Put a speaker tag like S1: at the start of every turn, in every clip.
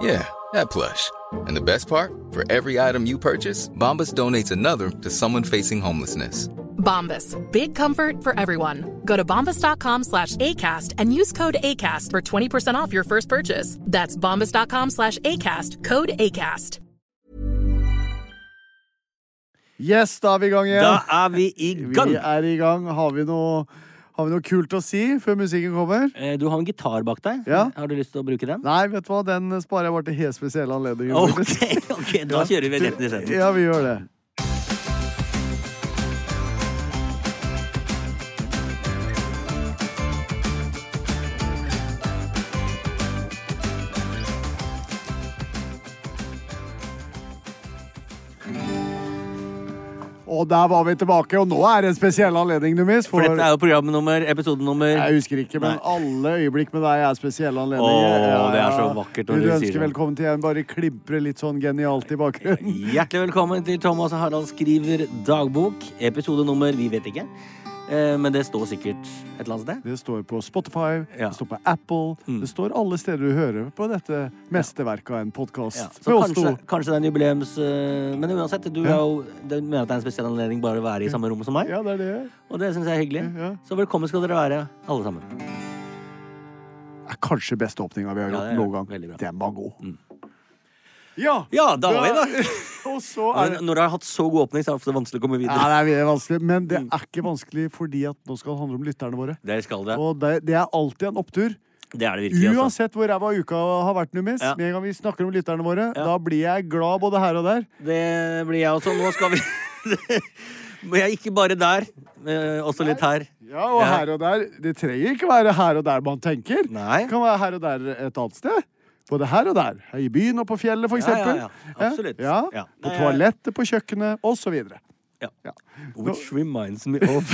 S1: Yeah, that plush. And the best part? For every item you purchase, Bombas donates another to someone facing homelessness.
S2: Bombas. Big comfort for everyone. Go to bombas.com slash ACAST and use code ACAST for 20% off your first purchase. That's bombas.com slash ACAST. Code ACAST.
S3: Yes, da er vi i gang igjen.
S4: Da er vi i gang!
S3: Vi er i gang. Har vi noe, har vi noe kult å si før musikken kommer?
S4: Eh, Du har en gitar bak deg.
S3: Ja.
S4: Har du lyst til å bruke den?
S3: Nei, vet du hva, den sparer jeg bare til helt spesielle anledninger.
S4: Ok,
S3: faktisk.
S4: ok, da kjører vi rett i stedet.
S3: Ja, vi gjør det. Og der var vi tilbake, og nå er det en spesiell anledning, Numis.
S4: For dette er jo programnummer, episode nummer
S3: Jeg husker ikke, men
S4: Nei.
S3: alle øyeblikk med deg er spesielle anledninger.
S4: Åh, det er så vakkert når
S3: Vil
S4: du
S3: du
S4: sier
S3: ønske
S4: det.
S3: velkommen til en bare klimpre litt sånn genialt i bakgrunnen?
S4: Hjertelig velkommen til Thomas og Harald skriver dagbok. Episodenummer vi vet ikke, Eh, men det står sikkert et eller annet sted.
S3: Det står på Spotify,
S4: Ja. Mm.
S3: det står på Apple, det står alle steder du hører på dette mesterverket av en podkast.
S4: Ja, så kanskje, kanskje det er en jubileums... eh, Men uansett, du er jo, det mener at det er en spesiell anledning bare å være i samme rom som meg.
S3: Ja, det er det.
S4: Og det syns jeg er hyggelig.
S3: Ja.
S4: Så velkommen skal dere være, alle sammen.
S3: er kanskje beste åpninga vi har
S4: Ja,
S3: gjort
S4: det er
S3: noen gang.
S4: veldig bra. Mm.
S3: Den var god. Ja,
S4: Ja, da er vi da.
S3: Og så er det
S4: Når når du har hatt så god åpning, så er det ofte vanskelig å komme
S3: ja,
S4: videre.
S3: det er vanskelig, men
S4: Mm.
S3: det er ikke vanskelig fordi at nå skal det handle om lytterne våre.
S4: Det skal det.
S3: Og det, det er alltid en opptur.
S4: Det er det virkelig. Altså.
S3: Uansett hvor ræva uka har vært, Numis,
S4: Ja.
S3: med en gang vi snakker om lytterne våre,
S4: Ja.
S3: da blir jeg glad både her og der.
S4: Det blir jeg også. Nå skal vi Men jeg er ikke bare der. eh, Også litt her.
S3: Ja, og
S4: Ja.
S3: her og der. Det trenger ikke være her og der man tenker.
S4: Nei.
S3: Det kan være her og der et annet sted. Både her og der. Her I byen og på fjellet, for
S4: Ja, ja,
S3: eksempel.
S4: ja. Absolutt.
S3: Ja.
S4: Ja.
S3: På
S4: Nei, jeg-
S3: toalettet, på kjøkkenet, og så videre.
S4: Ja.
S3: Ja.
S4: Which reminds me of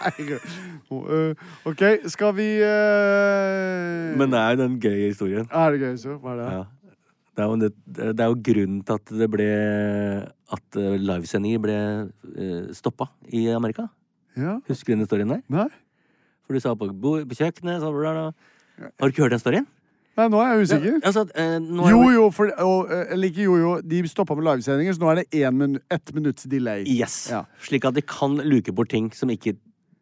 S3: Og, øh, OK, skal vi øh,
S4: Men det er jo den gøye historien.
S3: Er det gøy, så? Hva er det?
S4: Ja. Det, er jo, det, det er jo grunnen til at det ble At eh, livesendinger ble eh, stoppa i Amerika.
S3: Ja.
S4: Husker du den historien der?
S3: Nei?
S4: For du sa på, bo- på kjøkkenet så bla, bla. Har du ikke hørt den storyen?
S3: Nei, nå er jeg usikker.
S4: Altså, eh, nå er
S3: Jo,
S4: det-
S3: jo, for, og, øh, eller ikke jo, jo. De stoppa med livesendinger, så nå er det én minu ett minutts delay.
S4: Yes.
S3: Ja.
S4: Slik at de kan luke bort ting som ikke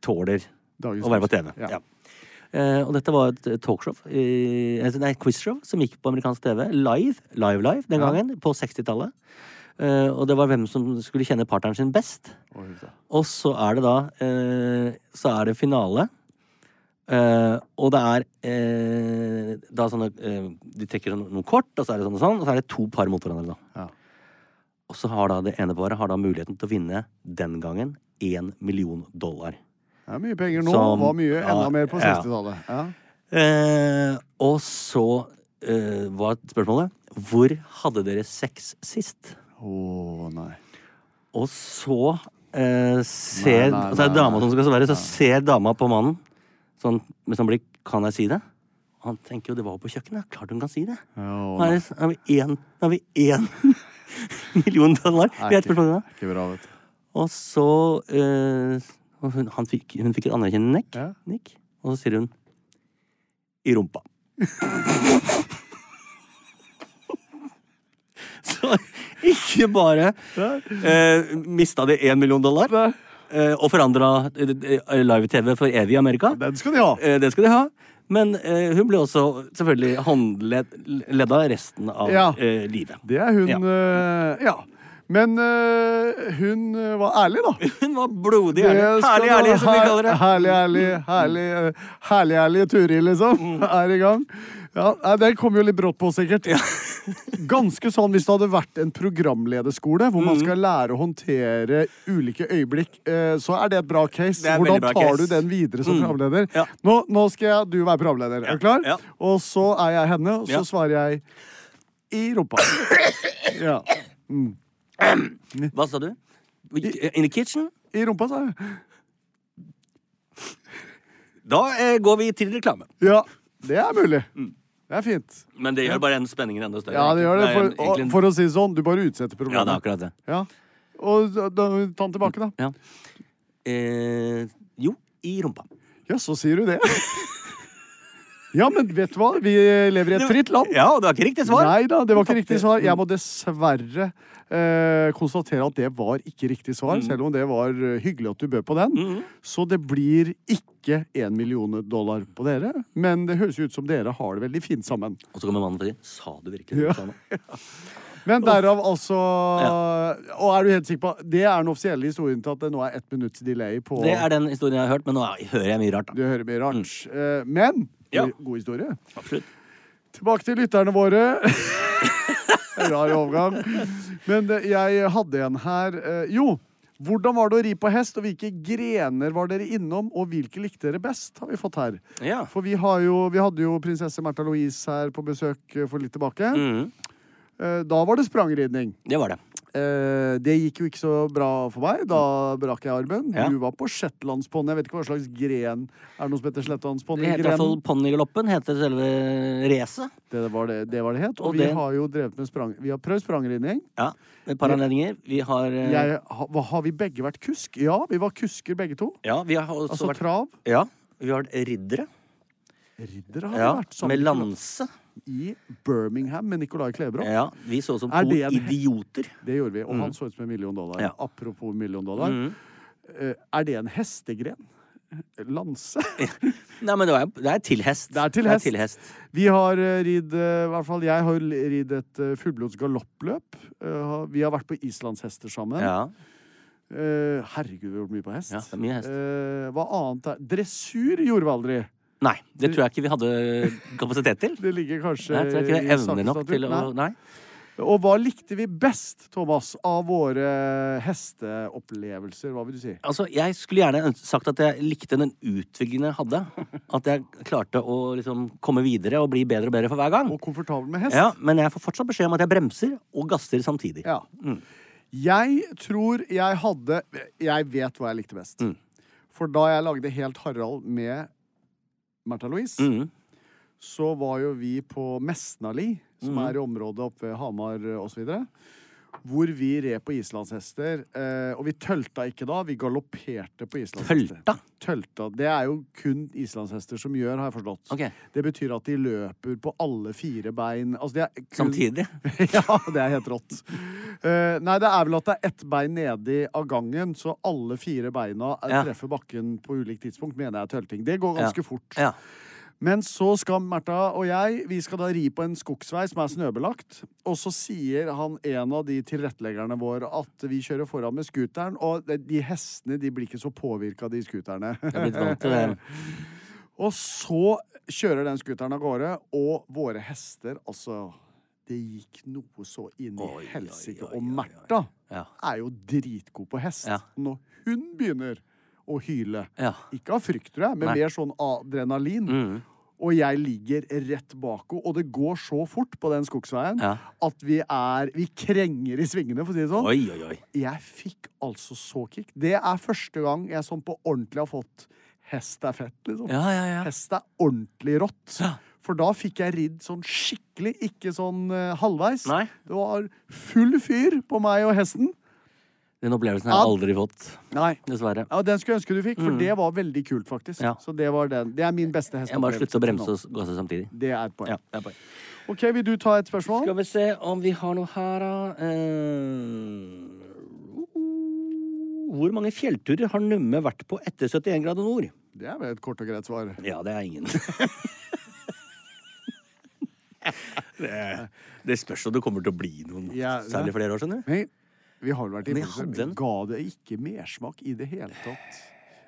S4: tåler
S3: Dagens
S4: å være på TV.
S3: lys. Ja.
S4: Ja. Eh, og dette var et talkshow, eh, altså, nei, quizshow, som gikk på amerikansk TV live, live, live den gangen, på 60-tallet. Eh, og det var hvem som skulle kjenne partneren sin best. Og så er det da eh, Så er det finale. Eh, og det er eh, da sånne eh, De trekker sånn, noen kort, og så er det sånn og sånn, og så er det to par mot hverandre. da
S3: Ja.
S4: Og så har da det ene paret har da muligheten til å vinne den gangen én million dollar.
S3: Det er mye penger nå.
S4: Som-
S3: var mye enda
S4: ja,
S3: mer på
S4: ja.
S3: 60-tallet. Ja.
S4: Eh, og så eh, var spørsmålet Hvor hadde dere sex sist?
S3: Å, nei.
S4: Og så eh, ser
S3: Nei, nei,
S4: altså, Det
S3: nei,
S4: er dama
S3: nei.
S4: som skal svare, så ser dama på mannen sånn, med sånn blikk Kan jeg si det? Og han tenker jo det var jo på kjøkkenet. Klart hun kan si det. Nå er, det- nå er vi én Nå er vi én million dollar. Vi er et spørsmål unna.
S3: Ikke bra, vet du.
S4: Og så eh, og hun, han fikk, hun fikk et anerkjennende nikk,
S3: Ja.
S4: nikk. Og så sier hun I rumpa. så ikke bare eh, mista de én million dollar eh, og forandra eh, live-TV for evig i Amerika.
S3: Den skal de ha.
S4: Eh, det skal de ha. Men eh, hun ble også selvfølgelig håndledda resten av
S3: Ja.
S4: eh, livet.
S3: Det er hun
S4: Ja.
S3: Ja. ja. Men eh, hun eh, var ærlig, da.
S4: Hun var blodig
S3: Det
S4: ærlig.
S3: skal
S4: Herlig
S3: du ha.
S4: ærlig, som vi
S3: Her-
S4: kaller det.
S3: Herlig ærlig, herlig, eh, herlig ærlig Turid, liksom.
S4: Mm.
S3: Er i gang. Ja, nei, Den kom jo litt brått på, sikkert. Ganske sånn hvis det hadde vært en programlederskole hvor
S4: Mm.
S3: man skal lære å håndtere ulike øyeblikk, eh, så er det et bra case.
S4: Det er
S3: Hvordan
S4: veldig bra
S3: tar
S4: case. Mm.
S3: du den videre som programleder?
S4: Ja.
S3: Nå, nå skal jeg, du være programleder. Er du klar?
S4: Ja.
S3: Og så er jeg henne, og så
S4: Ja.
S3: svarer jeg i rumpa. Ja.
S4: Hva sa du? eh, In the kitchen?
S3: I rumpa, sa jeg.
S4: Da eh, går vi til reklame.
S3: Ja, det er mulig.
S4: Mm.
S3: Det er fint.
S4: Men det gjør bare en spenningen enda større.
S3: Ja, det gjør det. For,
S4: er en- egentlig en-
S3: og, for å si det sånn, du bare utsetter
S4: Ja, det er
S3: problemet.
S4: akkurat det.
S3: Ja. Og da, da, ta den tilbake, da.
S4: Ja. Eh, jo, i rumpa.
S3: Ja, så sier du det. Ja, men vet du hva? Vi lever i et fritt land.
S4: Ja, og det var ikke riktig svar. Mm.
S3: Nei da, det var ikke riktig svar. Jeg må dessverre eh, konstatere at det var ikke riktig svar,
S4: Mm.
S3: selv om det var eh, hyggelig at du bød på den. Så det blir ikke én million dollar på dere, men det høres jo ut som dere har det veldig fint sammen.
S4: Og så kommer mannen og sier Sa du virkelig det? du sa nå?»
S3: Men derav altså Og er du helt sikker på Det er den offisielle historien til at det nå er ett minutts delay på
S4: Det er den historien jeg har hørt, men nå er- hører jeg mye rart.
S3: Du
S4: da
S3: hører mye rart. Eh, Men
S4: Ja.
S3: god- god historie.
S4: Absolutt.
S3: Tilbake til lytterne våre. Rar overgang. Men eh, jeg hadde en her. Eh, Jo, hvordan var det å ri på hest, og hvilke grener var dere innom, og hvilke likte dere best, har vi fått her.
S4: Ja.
S3: For vi, har jo, vi hadde jo prinsesse Märtha Louise her på besøk eh, for litt tilbake.
S4: Mhm.
S3: Eh, Da var det sprangridning.
S4: Det var det.
S3: Eh, det gikk jo ikke så bra for meg. Da brakk jeg armen.
S4: Mm. Ja.
S3: Du var på shetlandsponni. Jeg vet ikke hva slags gren Er det noe som heter shetlandsponni?
S4: Det heter i hvert fall Ponnigaloppen. Heter selve racet.
S3: Det var det det, var det het. Og,
S4: Og
S3: vi
S4: det-
S3: har jo drevet med sprang... Vi har prøvd sprangridning.
S4: Ja. Med et par anledninger. Vi har eh,
S3: Jeg, ha, hva- har vi begge vært kusk? Ja, vi var kusker begge to.
S4: Ja, vi har også
S3: Altså
S4: vært
S3: trav.
S4: Ja. Vi har vært riddere.
S3: Riddere har
S4: Ja.
S3: vi vært sånn sammen
S4: Med lanse.
S3: i Birmingham med Nicolai Klebrå.
S4: Ja. Vi så ut som
S3: Er
S4: to
S3: det en-
S4: idioter.
S3: Det gjorde vi. Og han så ut som en million dollar.
S4: Ja. Mm.
S3: Apropos million dollar. Eh, er det en hestegren? Lanse?
S4: Nei, men det, var, jo- det er til hest.
S3: Det er til hest. Vi har eh, ridd eh, I hvert fall jeg har l- ridd et eh, fullblods galoppløp. Eh, har- Vi har vært på islandshester sammen.
S4: Ja.
S3: Eh, Herregud, vi har gjort mye på hest.
S4: Ja, det er mye hest.
S3: Eh, Hva annet er Dressur gjorde vi aldri.
S4: Nei, det tror jeg ikke vi hadde kapasitet til.
S3: Det ligger kanskje
S4: Nei, jeg tror ikke vi
S3: i
S4: evner nok
S3: saksstatuten.
S4: til å
S3: Nei.
S4: Nei.
S3: Og hva likte vi best, Thomas, av våre hesteopplevelser? Hva vil du si?
S4: Altså, jeg skulle gjerne øns- sagt at jeg likte den utviklingen jeg hadde. At jeg klarte å liksom komme videre og bli bedre og bedre for hver gang.
S3: Og komfortabel med hest?
S4: Ja, Men jeg får fortsatt beskjed om at jeg bremser og gasser samtidig.
S3: Ja.
S4: Mm.
S3: Jeg tror jeg hadde Jeg vet hva jeg likte best.
S4: Mm.
S3: For da jeg lagde Helt Harald med Märtha Louise,
S4: Mhm.
S3: så var jo vi på Mesnali, som
S4: Mm.
S3: er i området oppe ved Hamar eh, osv. Hvor vi red på islandshester. eh, Og vi tølta ikke da, vi galopperte på islandshester.
S4: Tølta?
S3: Tølta. Det er jo kun islandshester som gjør, har jeg forstått.
S4: Ok.
S3: Det betyr at de løper på alle fire bein. Altså, det er kun
S4: Samtidig.
S3: ja, det er helt rått. Eh, nei, det er vel at det er ett bein nedi av gangen, så alle fire beina eh,
S4: Ja.
S3: treffer bakken på ulikt tidspunkt, mener jeg er tølting. Det går ganske fort.
S4: Ja.
S3: Men så skal Märtha og jeg Vi skal da ri på en skogsvei som er snøbelagt. Og så sier han en av de tilretteleggerne våre at vi kjører foran med scooteren. Og de- de hestene de blir ikke så påvirka, de scooterne.
S4: Jeg er blitt vant til det.
S3: Og så kjører den scooteren av gårde, og våre hester Altså, det gikk noe så inn i
S4: Oi,
S3: helsike.
S4: oi, oi,
S3: Og
S4: oi, oi.
S3: Märtha
S4: Ja.
S3: er jo dritgod på hest.
S4: Ja.
S3: Når hun begynner å hyle,
S4: Ja.
S3: ikke av frykt, tror jeg, men mer sånn adrenalin
S4: Mm.
S3: Og jeg ligger rett bak henne, og det går så fort på den skogsveien
S4: Ja.
S3: at vi er Vi krenger i svingene, for å si det sånn.
S4: Oi, oi, oi.
S3: Jeg fikk altså så kick. Det er første gang jeg sånn på ordentlig har fått hest er fett, liksom.
S4: Ja, ja, ja.
S3: Hest er ordentlig rått. For da fikk jeg ridd sånn skikkelig, ikke sånn eh, halvveis.
S4: Nei.
S3: Det var full fyr på meg og hesten.
S4: Den opplevelsen har jeg aldri fått,
S3: Nei.
S4: dessverre.
S3: Ja, Den skulle jeg ønske du fikk, for det var veldig kult, faktisk.
S4: Mm. Ja.
S3: Så det var den. Det er min beste hest.
S4: Jeg må bare slutte å bremse og gasse samtidig.
S3: Det er et poeng.
S4: Ja, det er poeng.
S3: Ok, vil du ta et spørsmål?
S4: Skal vi se om vi har noe her, da. Eh, Hvor mange fjellturer har Numme vært på etter 71 grader nord?
S3: Det er vel et kort og greit svar.
S4: Ja, det er ingen. det, det spørs om det kommer til å bli noen.
S3: Ja, ja.
S4: Særlig flere år, skjønner du.
S3: Hei, vi har vel vært
S4: Men
S3: inne
S4: jeg
S3: på det.
S4: hadde en-
S3: Ga det ikke mersmak i det hele tatt?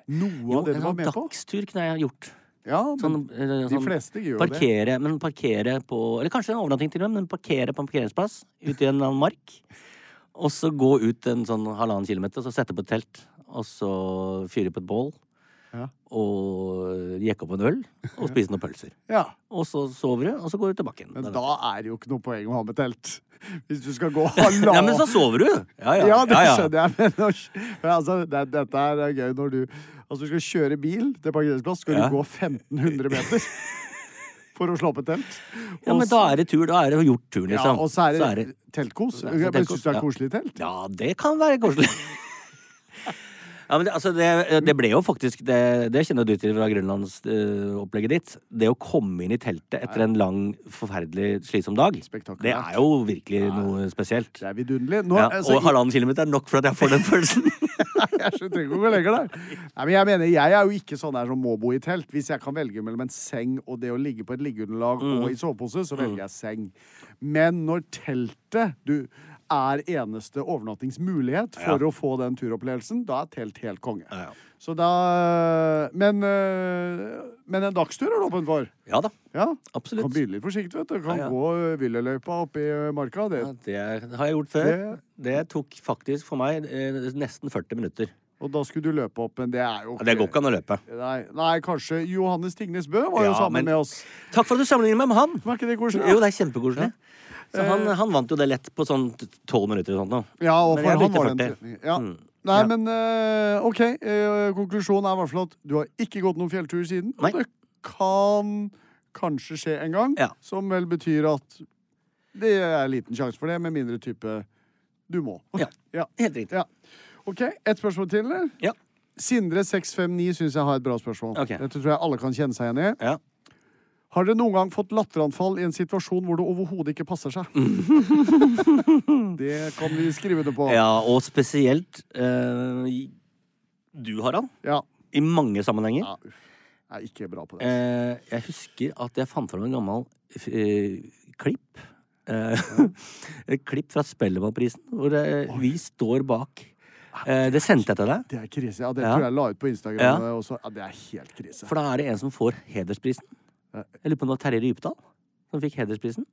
S3: Noe
S4: Jo,
S3: av det
S4: en
S3: du var
S4: sånn
S3: med på?
S4: dagstur kunne jeg ha gjort.
S3: Ja, men
S4: Sånn, eh,
S3: Mm. de
S4: sånn
S3: fleste gjør jo det.
S4: parkere, Men parkere på Eller kanskje en overnatting til og med, men parkere på en parkeringsplass ute i en eller annen mark. Og så gå ut en sånn halvannen kilometer, og så sette på et telt. Og så fyre på et bål.
S3: Ja.
S4: Og jekke opp en øl. Og spise noen pølser.
S3: Ja,
S4: Og så sover du, og så går du tilbake igjen.
S3: men
S4: Da-
S3: da er det jo ikke noe poeng å ha med telt. Hvis du skal gå
S4: Ja, men så
S3: halvannen
S4: sover du! Ja, ja.
S3: Ja, det
S4: ja, ja.
S3: skjønner jeg, men, når- men altså, det, dette her er gøy når du Altså, du skal kjøre bil til parkeringsplass, skal
S4: Ja.
S3: du gå 1500 meter for å slå opp et telt.
S4: Ja, men da er det tur. Da er det gjort turen,
S3: Ja,
S4: liksom.
S3: og så er det,
S4: det-
S3: teltkos.
S4: Så er det
S3: Men
S4: teltkos,
S3: syns du det
S4: ja.
S3: er koselig telt?
S4: Ja, det kan være koselig. Ja, men det, altså det, det ble jo faktisk Det, det kjenner du til fra Grønlandsopplegget ditt. Det å komme inn i teltet etter en lang, forferdelig slitsom dag,
S3: Spektakulært.
S4: det er jo virkelig noe spesielt.
S3: Det er vidunderlig. Nå,
S4: Ja,
S3: altså,
S4: og halvannen kilometer er nok for at jeg får den følelsen.
S3: jeg skjønner- trenger ikke å gå lenger der. Nei, men jeg mener, jeg er jo ikke sånn der som må bo i telt. Hvis jeg kan velge mellom en seng og det å ligge på et liggeunderlag
S4: Mm.
S3: og i sovepose, så velger jeg seng. Men når teltet du, er eneste overnattingsmulighet for å få den turopplevelsen, da er telt helt konge. Så da Men, øh, men en dagstur er det åpent for.
S4: Ja da.
S3: Ja.
S4: Absolutt.
S3: Kan byle litt forsiktig, vet du. Kan
S4: Ja, ja.
S3: gå øh, villeløypa oppi øh, marka. Det,
S4: Ja, Det har jeg gjort før.
S3: Det-
S4: Det tok faktisk for meg eh, nesten 40 minutter.
S3: Og da skulle du løpe opp, men det er jo
S4: Ja, Det går ikke an å løpe.
S3: Nei, nei, kanskje Johannes Tingnes Bø var jo
S4: Ja,
S3: sammen
S4: men-
S3: med oss.
S4: Takk for at du sammenligner meg med han!
S3: Var ikke det koselig?
S4: Jo, det er kjempekoselig. Så han, han vant jo det lett på sånn tolv minutter og sånt nå.
S3: Ja, og
S4: Men
S3: Eh. for
S4: jeg
S3: han
S4: brukte
S3: var den
S4: 40.
S3: Ja.
S4: Mm.
S3: Nei,
S4: Ja.
S3: men eh, OK. eh, konklusjonen er i hvert fall at du har ikke gått noen fjelltur siden.
S4: Nei.
S3: Og det kan kanskje skje en gang,
S4: Ja.
S3: som vel betyr at det er liten sjanse for det, med mindre type du må.
S4: Ja.
S3: ja.
S4: Helt riktig.
S3: Ja. OK, ett spørsmål til, eller?
S4: Ja.
S3: Sindre659 syns jeg har et bra spørsmål.
S4: Ok.
S3: Dette tror jeg alle kan kjenne seg igjen i.
S4: Ja.
S3: Har dere noen gang fått latteranfall i en situasjon hvor det overhodet ikke passer seg? det kan vi skrive det på.
S4: ja, og spesielt eh, i- Du, Harald.
S3: Ja.
S4: I mange sammenhenger.
S3: Ja, uff. Jeg er ikke bra på det.
S4: Eh, jeg husker at jeg fant fram en gammel eh, klipp. Eh, et klipp fra Spellemannprisen, hvor eh, vi står bak. Eh, det sendte jeg til deg.
S3: Det er krise. Ja, det
S4: Ja.
S3: tror jeg la ut på Instagram
S4: Ja.
S3: eh, også. Ja, det er helt krise.
S4: For da er det en som får hedersprisen. Jeg lurer på om det var Terje Rypdal som fikk hedersprisen.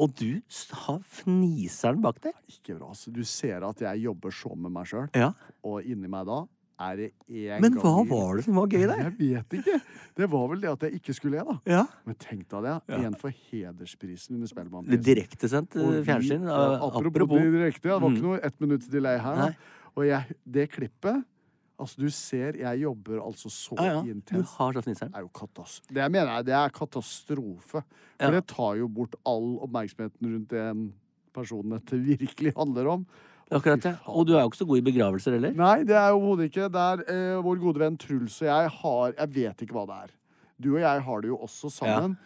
S4: Og du s- har fniseren bak deg.
S3: Ikke bra. Altså. Du ser at jeg jobber sånn med meg sjøl,
S4: Ja.
S3: og inni meg da er det én gang
S4: Men hva var det som var gøy der?
S3: Jeg vet ikke. Det var vel det at jeg ikke skulle le, da.
S4: Ja.
S3: Men tenk deg det. En for hedersprisen under
S4: Det
S3: Spellemannprisen.
S4: direktesendt
S3: Og
S4: eh,
S3: vi-
S4: fjernsyn.
S3: ja,
S4: eh,
S3: Apropos,
S4: Apropos. Mm.
S3: det direkte, ja, det var ikke noe ett minutts delay her. da.
S4: Nei.
S3: Og jeg, det klippet Altså, du ser jeg jobber altså så
S4: Ja, ja. Du
S3: intenst.
S4: har så fniseren.
S3: Det er jo katas- det jeg mener jeg, det er katastrofe. For
S4: Ja.
S3: det tar jo bort all oppmerksomheten rundt det en person dette virkelig handler om.
S4: Akkurat, ja. Og du er jo ikke så god i begravelser heller.
S3: Nei, det er overhodet ikke. Det er eh, vår gode venn Truls og jeg har Jeg vet ikke hva det er. Du og jeg har det jo også sammen.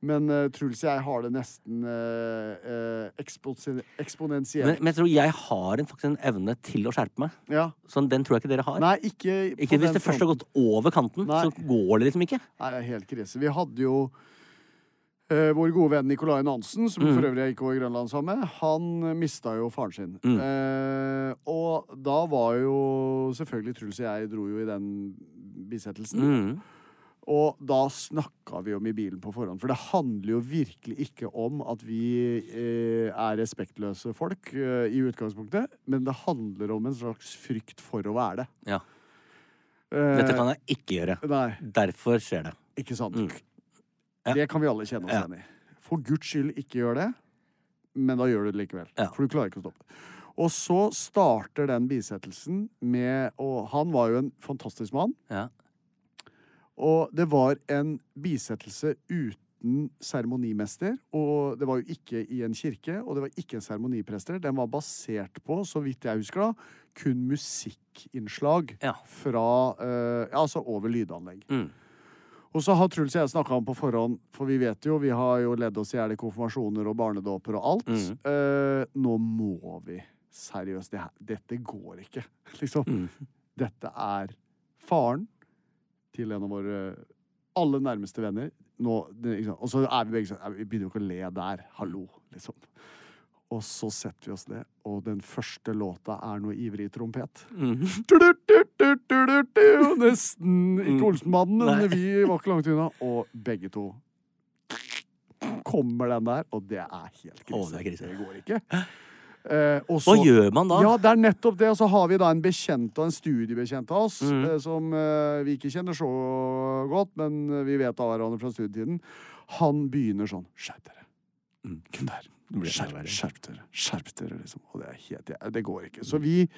S3: Men eh, Truls og jeg har det nesten eh, eh, eksponsen-
S4: Men,
S3: eksponentielt.
S4: men jeg tror jeg har en, faktisk en evne til å skjerpe meg.
S3: ja.
S4: Sånn, den tror jeg ikke dere har.
S3: Nei, ikke, på
S4: ikke hvis
S3: den
S4: det først har
S3: fronten.
S4: gått over kanten,
S3: Nei.
S4: så går det liksom ikke.
S3: Nei, det er helt krise. Vi hadde jo eh, vår gode venn Nicolai Nansen,
S4: Mm.
S3: som for øvrig jeg gikk over Grønland sammen med, han mista jo faren sin.
S4: Mm.
S3: Eh, og da var jo selvfølgelig Truls og jeg dro jo i den bisettelsen.
S4: Mm.
S3: Og da snakka vi om i bilen på forhånd, for det handler jo virkelig ikke om at vi eh, er respektløse folk eh, i utgangspunktet, men det handler om en slags frykt for å være det.
S4: Ja.
S3: Eh,
S4: Dette kan jeg ikke gjøre.
S3: Nei,
S4: Derfor skjer det.
S3: ikke sant.
S4: Mm. Ja.
S3: Det kan vi alle kjenne oss
S4: Ja.
S3: igjen i. For guds skyld, ikke gjør det, men da gjør du det likevel.
S4: Ja.
S3: For du klarer ikke å stoppe. Og så starter den bisettelsen med Og han var jo en fantastisk mann.
S4: Ja.
S3: Og det var en bisettelse uten uten seremonimester. Og det var jo ikke i en kirke, og det var ikke seremoniprester. Den var basert på, så vidt jeg husker, da, kun musikkinnslag
S4: Ja.
S3: fra eh, ja, Altså over lydanlegg.
S4: Mm.
S3: Og så har Truls og jeg snakka om på forhånd, for vi vet jo, vi har jo ledd oss i hjel i konfirmasjoner og barnedåper og alt. Eh, nå må vi. Seriøst, det her, dette går ikke, liksom. Dette er faren til en av våre aller nærmeste venner. Nå, det, ikke sant? Og så er vi begge sånn «Nei, Vi begynner jo ikke å le der. Hallo, liksom. Og så setter vi oss ned, og den første låta er noe ivrig trompet.
S4: Mm-hmm.
S3: Du-du-du-du-du-du-du, Nesten ikke Olsenmannen, men vi var ikke langt unna. Og begge to kommer den der, og det er helt krise.
S4: Å, det er krise.
S3: går ikke. Eh, og
S4: Hva
S3: så-
S4: gjør man da?
S3: ja, det er nettopp det. Og så har vi da en bekjent og en studiebekjent av oss,
S4: Mm.
S3: eh, som eh, vi ikke kjenner så godt, men eh, vi vet av hverandre fra studietiden. Han begynner sånn Skjerp dere. Gutter.
S4: Mm. blir enda
S3: Skjerp,
S4: verre.
S3: skjerp dere. Skjerp dere, liksom. Og det er helt det- Det går ikke. Så vi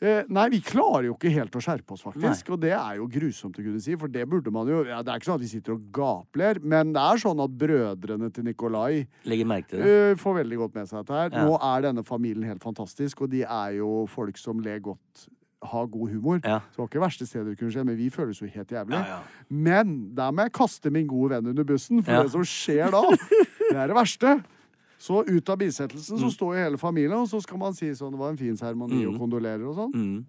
S3: eh, Nei, vi klarer jo ikke helt å skjerpe oss, faktisk. Og det er jo grusomt å kunne si, for det burde man jo ja, Det er ikke sånn at vi sitter og gapler, men det er sånn at brødrene til Nikolai
S4: Legger merke til det.
S3: Eh, får veldig godt med seg dette her. Nå er denne familien helt fantastisk, og de er jo folk som ler godt, har god humor.
S4: Ja.
S3: Så det var ikke verste stedet det kunne skje, men vi føles jo helt jævlig. Men der må jeg kaste min gode venn under bussen, for
S4: Ja.
S3: det som skjer da, det er det verste. Så ut av bisettelsen
S4: Mm.
S3: så står jo hele familien, og så skal man si sånn, det var en fin seremoni, og kondolerer og sånn.
S4: Mm,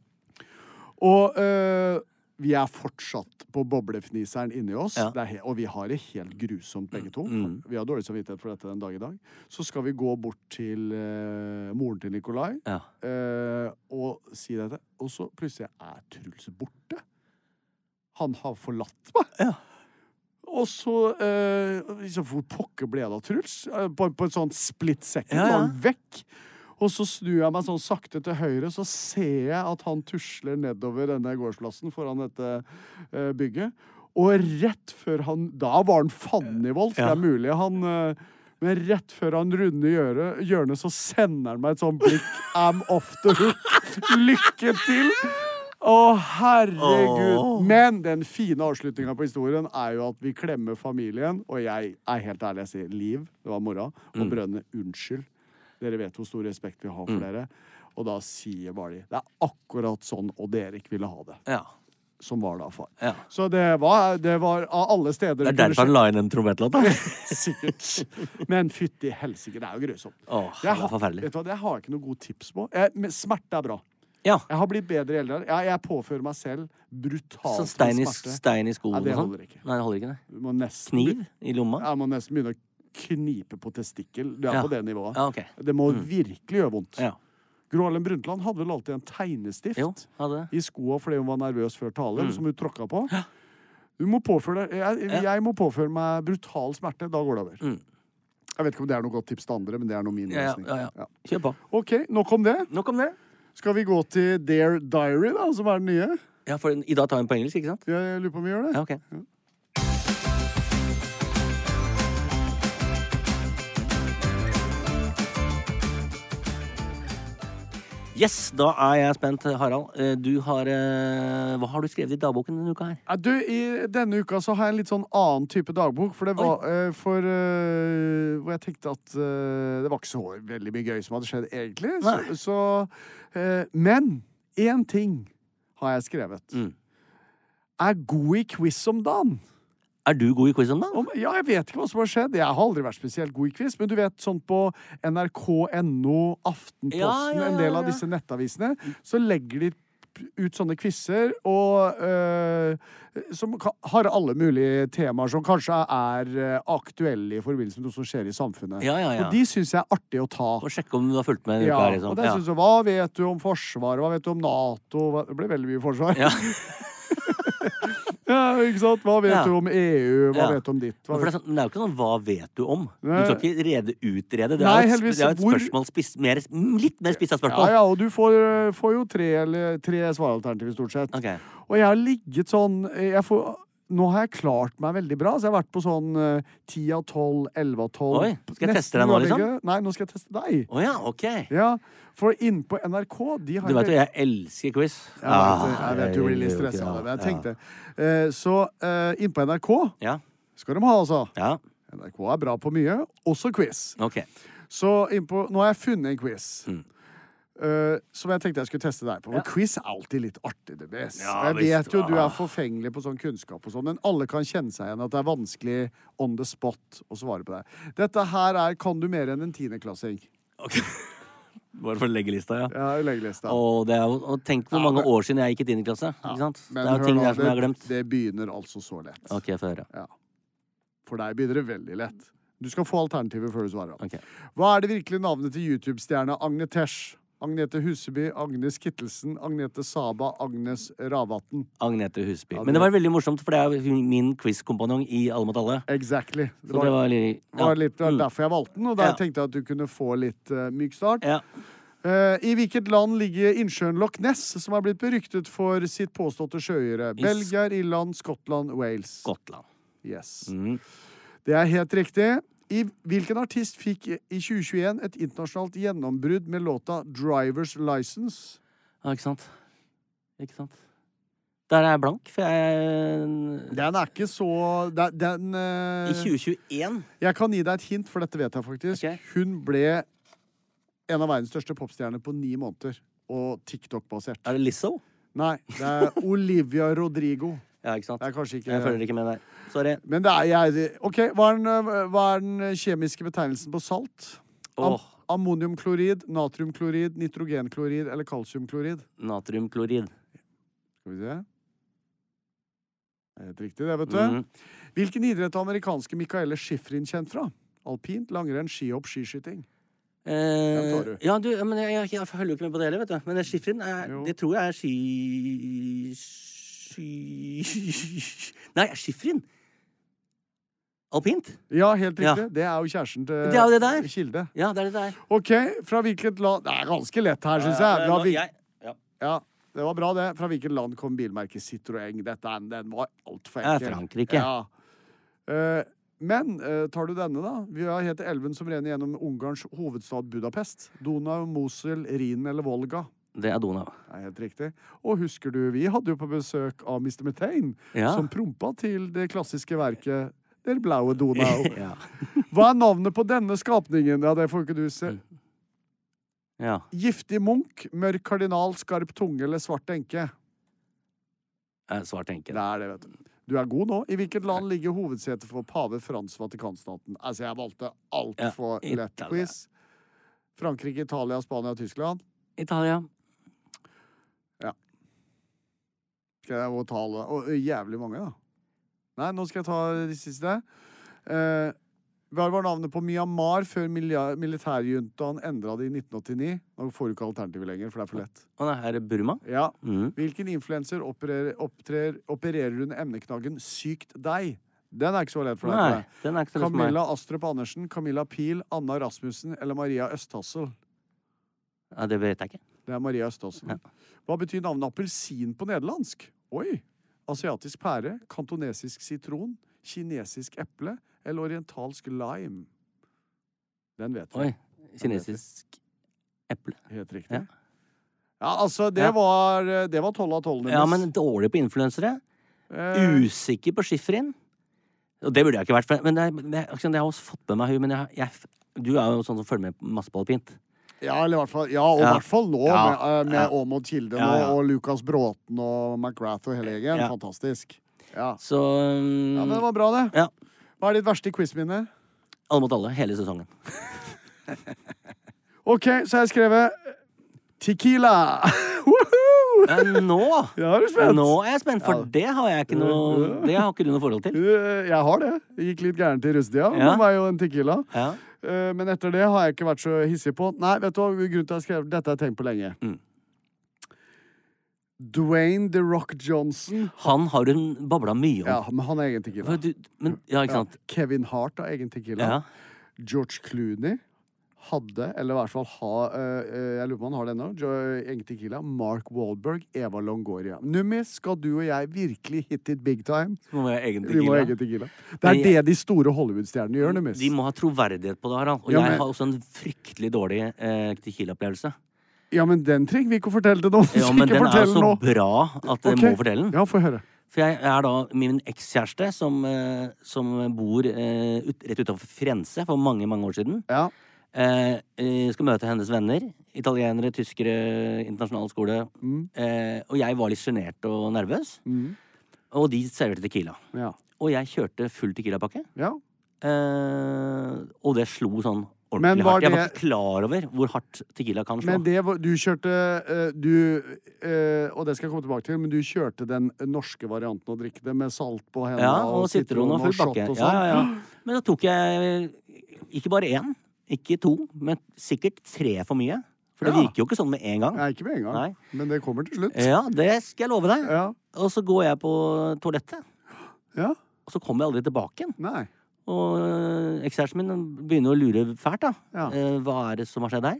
S3: Og øh, vi er fortsatt på boblefniseren inni oss,
S4: Ja. Mm,
S3: det er he og vi har det helt grusomt begge to. Vi har dårlig samvittighet for dette den dag i dag. Så skal vi gå bort til øh, moren til Nikolai
S4: Ja.
S3: øh, og si dette, og så plutselig er Truls borte. Han har forlatt meg. Og så øh, liksom, Hvor pokker ble det av Truls? Eh, På, på et sånt split second.
S4: Ja, ja.
S3: var han vekk. Og så snur jeg meg sånn sakte til høyre, så ser jeg at han tusler nedover denne gårdsplassen foran dette eh, bygget. Og rett før han Da var han fannivold, så det er mulig han eh, Men rett før han runder hjørnet, hjørnet, så sender han meg et sånt blikk. I'm off the hook. Lykke til! Å, herregud. Men den fine avslutninga på historien er jo at vi klemmer familien, og jeg er helt ærlig, jeg sier Liv, det var mora, og
S4: Mm.
S3: Brønne, unnskyld. Dere vet hvor stor respekt vi har for dere. Og da sier bare de Det er akkurat sånn Odd Erik ville ha det.
S4: Ja.
S3: Som var da far.
S4: Ja.
S3: Så det var, det var av alle steder
S4: Det er derfor han la inn den trompetlåta.
S3: Sikkert. Men fytti helsike, det er jo grusomt.
S4: Åh,
S3: Jeg
S4: det er
S3: har-
S4: forferdelig.
S3: Vet du hva, jeg har ikke noe gode tips på. Jeg, men smerte er bra.
S4: Ja.
S3: Jeg har blitt bedre i eldre. Jeg, jeg påfører meg selv brutalt
S4: Så
S3: med
S4: stein i,
S3: smerte.
S4: stein i skoen
S3: Nei, det
S4: og sånn.
S3: holder ikke.
S4: Nei, det holder ikke. Nei.
S3: Du må nesten,
S4: Kniv i lomma.
S3: Jeg må nesten begynne å knipe på testikkel. Du er
S4: Ja.
S3: på det nivået.
S4: Ja, ok. Mm.
S3: Det må virkelig gjøre vondt.
S4: Ja.
S3: Gro Harlem Brundtland hadde vel alltid en tegnestift
S4: Jo, Mm. hadde det.
S3: i skoa fordi hun var nervøs før tale, som hun tråkka på. Du må påføre deg, jeg, jeg må påføre meg brutal smerte. Da går det over. Jeg vet ikke om det er noe godt tips til andre, men det er noe min
S4: Mm. Ja, ja,
S3: løsning.
S4: ja,
S3: Ja.
S4: ja. Kjør på.
S3: OK, nok om det.
S4: Nok om det.
S3: Skal vi gå til Dare Diary, da, som er den nye?
S4: Ja, for I dag tar vi den på engelsk, ikke sant?
S3: Jeg lurer på om vi gjør det.
S4: Ja, ok. Yes, da er jeg spent, Harald. Eh, Du har eh, Hva har du skrevet i dagboken denne uka her?
S3: Ja, Du, I denne uka så har jeg en litt sånn annen type dagbok. For det var eh, for eh, Hvor jeg tenkte at eh, det var ikke så veldig mye gøy som hadde skjedd, egentlig.
S4: Nei.
S3: Så, så, eh, men én ting har jeg skrevet. Er god i quiz om dagen.
S4: Er du god i quiz om dagen?
S3: Om, ja, jeg vet ikke hva som har skjedd. Jeg har aldri vært spesielt god i quiz, men du vet sånn på nrk.no, Aftenposten,
S4: Ja, ja, ja,
S3: en del av
S4: ja.
S3: disse nettavisene, så legger de p- ut sånne quizer og øh, som ka- har alle mulige temaer som kanskje er øh, aktuelle i forbindelse med noe som skjer i samfunnet.
S4: Ja, ja, ja.
S3: Og de syns jeg er artig å ta.
S4: Og sjekke om du har fulgt med denne
S3: Ja,
S4: uka her,
S3: og
S4: liksom.
S3: det
S4: Ja.
S3: synes jeg, Hva vet du om Forsvaret? Hva vet du om Nato? Hva- Det ble veldig mye forsvar.
S4: Ja.
S3: Ja, ikke sant? Hva vet
S4: Ja.
S3: du om EU? Hva
S4: Ja.
S3: vet du om ditt? Hva
S4: Men for
S3: vet
S4: det, er sånn, men det er jo ikke sånn 'hva vet du om'?
S3: Nei.
S4: Du skal ikke rede utrede. Det
S3: Nei,
S4: er jo et,
S3: heldigvis,
S4: det er jo et
S3: hvor-
S4: spørsmål spiss, mer, mm, litt mer spissa
S3: Ja,
S4: spørsmål.
S3: ja, og du får, eh, får jo tre, eller, tre svaralternativer, stort sett.
S4: Ok.
S3: Og jeg har ligget sånn jeg får, Nå har jeg klart meg veldig bra. Så jeg har vært på sånn eh, 10 av 12, 11 av 12
S4: Oi, skal jeg
S3: Nesten
S4: teste deg nå, liksom?
S3: uavhengig. Nei, nå skal jeg teste deg.
S4: Å ja, ok.
S3: Ja, For inne på NRK de har
S4: Du veit jo, jeg elsker quiz.
S3: jeg, vet, jeg vet du
S4: Ah,
S3: blir litt
S4: jeg gjør jo
S3: stressa
S4: ikke
S3: av det, men jeg
S4: det,
S3: tenkte eh, Så eh, inne på NRK
S4: ja.
S3: skal de ha, altså.
S4: Ja. ja.
S3: NRK er bra på mye, også quiz.
S4: Ok.
S3: Så innpå, nå har jeg funnet en quiz.
S4: Mm.
S3: eh, som jeg tenkte jeg skulle teste deg på. Men quiz er alltid litt artig. det best.
S4: Ja,
S3: jeg
S4: visst. Ah.
S3: vet jo du er forfengelig på sånn kunnskap, og sånn, men alle kan kjenne seg igjen at det er vanskelig on the spot å svare på det. Dette her er Kan du mer enn en tiendeklassing?
S4: Ok. Bare for leggelista, ja.
S3: Ja, leggelista.
S4: Og, det er, jo- og tenk hvor mange år siden jeg gikk i tiende klasse. Ikke sant? Det
S3: Men
S4: er
S3: hør
S4: jo ting
S3: nå,
S4: der som jeg har
S3: det-
S4: glemt.
S3: Det begynner altså så lett.
S4: Ok, få høre.
S3: Ja. For deg begynner det veldig lett. Du skal få alternativer før du svarer.
S4: Ok.
S3: Hva er det virkelige navnet til YouTube-stjerna Agne Tesh? Agnete Huseby, Agnes Kittelsen, Agnete Saba, Agnes Ravatn.
S4: Agnete Husby. Men det var veldig morsomt, for det er jo min quizkompanjong i Alle mot alle.
S3: Exactly. Det
S4: Så det var litt
S3: det var litt det var
S4: Mm.
S3: derfor jeg valgte den, og der
S4: Ja.
S3: tenkte jeg at du kunne få litt eh, myk start.
S4: Ja.
S3: Eh, I hvilket land ligger innsjøen Loch Ness, som er blitt beryktet for sitt påståtte sjøyre? Belgia, Irland, Skottland, Wales.
S4: Skottland.
S3: Yes.
S4: Mm.
S3: Det er helt riktig. I hvilken artist fikk i 2021 et internasjonalt gjennombrudd med låta 'Drivers License'?
S4: Ja, ikke sant? Ikke sant? Der er jeg blank, for jeg
S3: Den er ikke så Den, den eh,
S4: I 2021
S3: Jeg kan gi deg et hint, for dette vet jeg faktisk.
S4: Ok.
S3: Hun ble en av verdens største popstjerner på ni måneder. Og TikTok-basert.
S4: Er det Lizzo?
S3: Nei, det er Olivia Rodrigo.
S4: Ja, ikke sant?
S3: Det er kanskje ikke
S4: Jeg følger ikke med der. Sorry.
S3: Men det er jeg OK, hva er, den, eh, hva er den kjemiske betegnelsen på salt? Am
S4: Åh,
S3: ammoniumklorid, natriumklorid, nitrogenklorid eller kalsiumklorid?
S4: natriumklorid.
S3: Skal vi se. Det er helt riktig, det, vet du.
S4: Mm.
S3: Hvilken idrett er amerikanske Michaele Schifrin kjent fra? Alpint, langrenn, skihopp, skiskyting. Den tar
S4: Eh,
S3: du.
S4: ja, du, ja, men jeg, jeg, jeg følger jo ikke med på det heller, vet du. Men det skifferen er
S3: Jo.
S4: Det tror jeg er ski... Ski... Nei, skifferen! Alpint?
S3: Ja, helt
S4: Ja.
S3: riktig. Det er jo kjæresten til
S4: Det er jo det der.
S3: Kilde.
S4: Ja, det er det det er.
S3: OK, fra hvilket land Det er ganske lett her, syns jeg. Fra
S4: Nå-
S3: hvil-
S4: jeg- ja.
S3: Ja, det var bra, det. Fra hvilket land kom bilmerket Citroën? Dette er- den var altfor
S4: Ja,
S3: enkel.
S4: Frankrike.
S3: Ja. Eh, men eh, tar du denne, da? Vi har heter elven som renner gjennom Ungarns hovedstad Budapest. Donau, Mosel, Rhinen eller Volga.
S4: Det er Donau.
S3: Det er helt riktig. Og husker du, vi hadde jo på besøk av Mr. Methane,
S4: Ja.
S3: som prompa til det klassiske verket Der blaue Donau.
S4: Ja.
S3: Hva er navnet på denne skapningen? Ja, det får ikke du se.
S4: Mm. ja.
S3: Giftig munk, mørk kardinal, skarp tunge eller svart enke?
S4: Eh, Svart enke.
S3: Det er det, vet du. Du er god nå. I hvilket land ligger hovedsetet for pave Frans Vatikanstaten? Altså, jeg valgte altfor
S4: Ja,
S3: lett
S4: Italia.
S3: quiz. Frankrike, Italia, Spania, Tyskland.
S4: Italia.
S3: Skal jeg må ta alle? Og ø, jævlig mange, da. Nei, nå skal jeg ta de siste. Eh, hva var navnet på Myanmar før milia- militærjuntaen endra det i 1989? Nå får du ikke alternativet lenger, for det er for lett.
S4: Å nei, er det Burma?
S3: Ja.
S4: Mm.
S3: Hvilken influenser opererer, opptrer- opererer under emneknaggen 'sykt deg'? Den er ikke så lett for deg. tror
S4: Nei,
S3: jeg.
S4: den er ikke så lett for meg.
S3: Camilla Astrup Andersen, Camilla Pil, Anna Rasmussen eller Maria Østhassel?
S4: Ja, det vet jeg ikke.
S3: Det er Maria Østhassel.
S4: Ja.
S3: Hva betyr navnet appelsin på nederlandsk? Oi! Asiatisk pære, kantonesisk sitron, kinesisk eple eller orientalsk lime? Den vet vi.
S4: Oi. Kinesisk eple.
S3: Helt riktig.
S4: Ja.
S3: Ja, altså, det
S4: Ja.
S3: var Det var tolv av tolv.
S4: Ja,
S3: Nordnes.
S4: men dårlig på influensere.
S3: Eh,
S4: Usikker på skifferen. Og det burde jeg ikke vært, for men det, men det, ikke sant, jeg har også fått med meg hun, men jeg, jeg, du er jo sånn som følger med masse på alpint.
S3: Ja, eller i hvert fall, ja, og i
S4: Ja.
S3: hvert fall nå,
S4: Ja.
S3: med, eh, med
S4: Ja.
S3: Aamodt Kilde
S4: Ja, ja.
S3: nå, og Lukas Bråten og McGrath og hele gjengen.
S4: Ja.
S3: Fantastisk. Ja.
S4: Så um,
S3: ja, men det var bra, det.
S4: ja,
S3: Hva er ditt verste quizminne?
S4: Alle mot alle, hele sesongen.
S3: OK, så har jeg skrevet eh, Tequila. Woohoo!
S4: Eh, nå
S3: Ja, er du spent?
S4: Nå er jeg spent, for det har jeg ikke noe Det har ikke du noe forhold til.
S3: Eh, Jeg har det. Det gikk litt gærent i russetida.
S4: Ja.
S3: Ja. Det var jo en Tequila.
S4: Ja.
S3: Eh, Men etter det har jeg ikke vært så hissig på. Nei, vet du hva? Grunnen til at jeg skrev dette har jeg tenkt på lenge.
S4: Mm.
S3: Dwayne The Rock Johnson.
S4: Han har hun babla mye om.
S3: Ja, men han har egen tequila.
S4: For Du, men, ja, ikke sant?
S3: Kevin Hart har egen tequila.
S4: Ja.
S3: George Clooney hadde, eller i hvert fall ha eh, eh, Jeg lurer på om han har det ennå. Jo- Egen tequila. Mark Wahlberg, Eva Longoria. Nummi, skal du og jeg virkelig hit it big time?
S4: Så må vi ha egen
S3: Vi må ha
S4: tequila.
S3: egen tequila. Det er
S4: Men jeg-
S3: det de store Hollywood-stjernene gjør, Nummis.
S4: De må ha troverdighet på det, Harald. Og
S3: Ja, men-
S4: jeg har også en fryktelig dårlig eh, tequila-opplevelse.
S3: Ja, men den trenger vi ikke å fortelle til noen.
S4: Ja,
S3: ikke
S4: men den er jo
S3: fortell
S4: så
S3: nå.
S4: bra at jeg
S3: Ok.
S4: må fortelle den.
S3: Ja, få høre.
S4: For jeg er da min ekskjæreste som, eh, som bor eh, ut, rett utenfor Firenze for mange, mange år siden.
S3: Ja.
S4: Eh, eh, skal møte hennes venner. Italienere, tyskere, internasjonal skole.
S3: Mm.
S4: Eh, og jeg var litt sjenert og nervøs. Og de serverte Tequila.
S3: Ja.
S4: Og jeg kjørte full Tequila-pakke.
S3: ja.
S4: Eh, og det slo sånn
S3: Men
S4: ordentlig
S3: var
S4: hardt. Jeg var
S3: det-
S4: ikke klar over hvor hardt Tequila kan slå.
S3: Men det var, du kjørte eh, Du eh, Og det skal jeg komme tilbake til, men du kjørte den norske varianten å drikke det med salt på hendene
S4: ja, og sitron og full
S3: shot
S4: pakke.
S3: og
S4: Ja,
S3: sånn.
S4: ja, ja. Men da tok jeg ikke bare én, ikke to, men sikkert tre for mye. For det
S3: Ja.
S4: virker jo ikke sånn med en gang.
S3: Nei, ikke med en gang,
S4: Nei.
S3: men det kommer til slutt.
S4: Ja, det skal jeg love deg.
S3: Ja.
S4: Og så går jeg på toalettet,
S3: Ja?
S4: og så kommer jeg aldri tilbake igjen.
S3: Nei.
S4: Og øh, ekskjæresten min begynner å lure fælt, da.
S3: Ja.
S4: Eh, Hva er det som har skjedd her?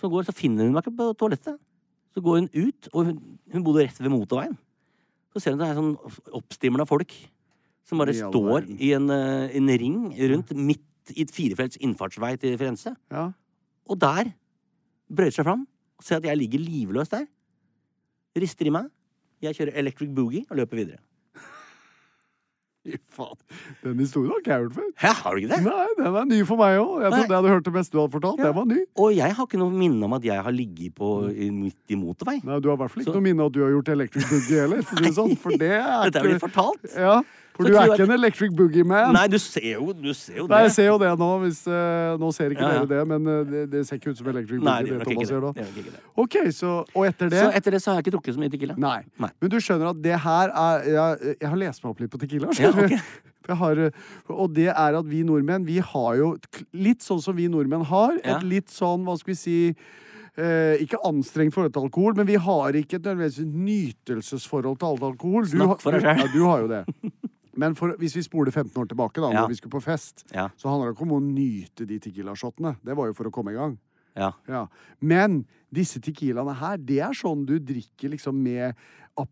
S4: Så, går, så finner hun meg ikke på toalettet. Så går hun ut, og hun, hun bodde rett ved motorveien. Så ser hun det er sånn oppstimla folk som bare
S3: I all
S4: står
S3: verden.
S4: i en, eh, en ring rundt midt i et firefelts innfartsvei til Firenze.
S3: Ja.
S4: Og der brøyter seg fram og ser at jeg ligger livløs der. Rister i meg. Jeg kjører electric boogie og løper videre.
S3: Fy faen. Den historien har ikke jeg hørt før.
S4: Hæ, har du ikke det?
S3: Nei, den er ny for meg òg. Jeg
S4: Nei.
S3: trodde jeg hadde hørt det meste du hadde fortalt. Den var ny.
S4: Og jeg har ikke noe minne om at jeg har ligget på
S3: Mm.
S4: i- midt i motorvei.
S3: Nei, Du har i hvert fall ikke
S4: Så-
S3: noe minne av at du har gjort electric boogie heller. For, å si det sånn, for det er
S4: Dette er blitt fortalt.
S3: Ja,
S4: Så
S3: for du er
S4: tror jeg-
S3: ikke en electric boogie-man.
S4: Nei, du ser jo, du ser jo
S3: Nei, jeg
S4: det.
S3: ser jo det nå. Hvis, eh, nå ser ikke
S4: Ja, ja.
S3: dere det, men eh, det, det ser ikke ut som electric
S4: Nei,
S3: boogie.
S4: det gjør
S3: det
S4: nok
S3: Thomas
S4: ikke
S3: gjør
S4: det.
S3: da.
S4: Det gjør nok ikke det.
S3: Ok, så, Og etter det
S4: Så etter det så har jeg ikke drukket så mye tequila.
S3: Nei.
S4: Nei.
S3: Men du skjønner at det her er Jeg, jeg har lest meg opp litt på Tequila.
S4: Ja,
S3: skjønner du?
S4: ok.
S3: For jeg har, eh, og det er at vi nordmenn, vi har jo et kl- litt sånn som vi nordmenn har.
S4: Ja.
S3: Et litt sånn, hva skal vi si eh, ikke anstrengt forhold til alkohol, men vi har ikke et nødvendigvis nytelsesforhold til alt alkohol. Du,
S4: Snakk for deg
S3: har-
S4: selv.
S3: Ja, du har jo det. Men for, hvis vi spoler 15 år tilbake, da,
S4: Ja.
S3: når vi skulle på fest,
S4: Ja.
S3: så handla det ikke om å nyte de tequila-shotene. Det var jo for å komme i gang.
S4: Ja.
S3: Ja. Men disse tequilaene her, det er sånn du drikker liksom med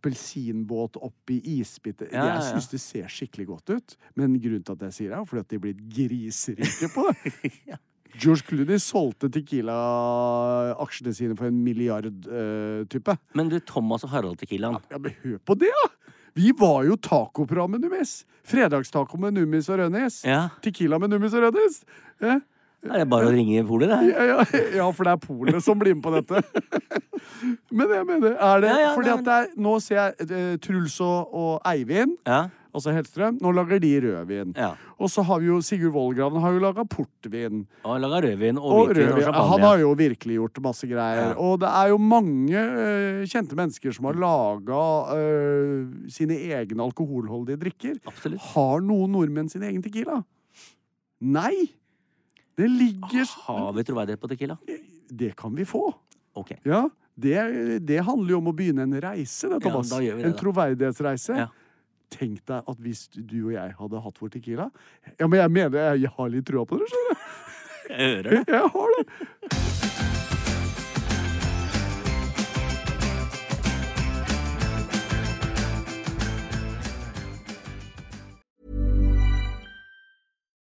S3: appelsinbåt oppi isbiter.
S4: Ja, ja,
S3: Jeg
S4: ja.
S3: syns det ser skikkelig godt ut, men grunnen til at jeg sier det, er jo fordi at de er blitt griserike på det. George Clooney solgte Tequila-aksjene sine for en milliard eh, type.
S4: Men du, Thomas og Harald Tequilaen.
S3: Ja, men hør på det, da! Vi var jo tacoprogram med Numis. Fredagstaco med Numis og Rønnis.
S4: Ja.
S3: Tequila med Numis og Eh? Rønnis. Ja.
S4: Det er bare å ringe polet, det. her.
S3: Ja, ja, ja, for det er polet som blir med på dette. Men jeg mener, er det
S4: Ja, ja,
S3: Fordi
S4: nei,
S3: at det er, nå ser jeg eh, Truls og, og Eivind,
S4: Ja.
S3: altså Hellstrøm, nå lager de rødvin.
S4: Ja.
S3: Og så har vi jo Sigurd Vollgraven har jo laga portvin.
S4: Og laga rødvin og
S3: Og
S4: hvitvin og
S3: rødvin. Han har
S4: champagne.
S3: jo virkelig gjort masse greier.
S4: Ja.
S3: Og det er jo mange eh, kjente mennesker som har laga sine egne alkoholholdige drikker.
S4: Absolutt.
S3: Har noen nordmenn sin egen tequila? Nei! Det ligger
S4: Har vi troverdighet på tequila?
S3: Det kan vi få.
S4: Ok.
S3: Ja, det, det handler jo om å begynne en reise, det,
S4: Ja,
S3: Thomas.
S4: da gjør vi det,
S3: en
S4: da.
S3: troverdighetsreise.
S4: Ja.
S3: Tenk deg at hvis du og jeg hadde hatt vår tequila Ja, men jeg mener jeg, jeg har litt trua på det, skjønner du.
S4: Jeg hører det.
S3: Jeg har det.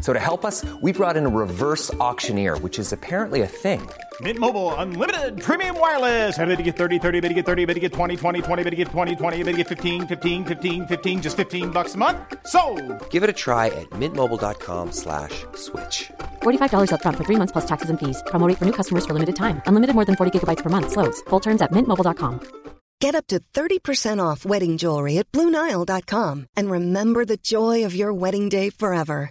S5: So to help us, we brought in a reverse auctioneer, which is apparently a thing.
S6: Mint Mobile unlimited premium wireless. Ready to get 30, 30, bet you get 30, bet you get 20, 20, 20, bet you get 20, 20, bet you get 15, 15, 15, 15 just 15 bucks a month. So,
S5: Give it a try at mintmobile.com slash switch.
S7: $45 upfront for three months plus taxes and fees. Promo rate for new customers for limited time. Unlimited more than 40 gigabytes per month. Slows. Full terms at mintmobile.com.
S8: Get up to 30% off wedding jewelry at BlueNile.com and remember the joy of your wedding day forever.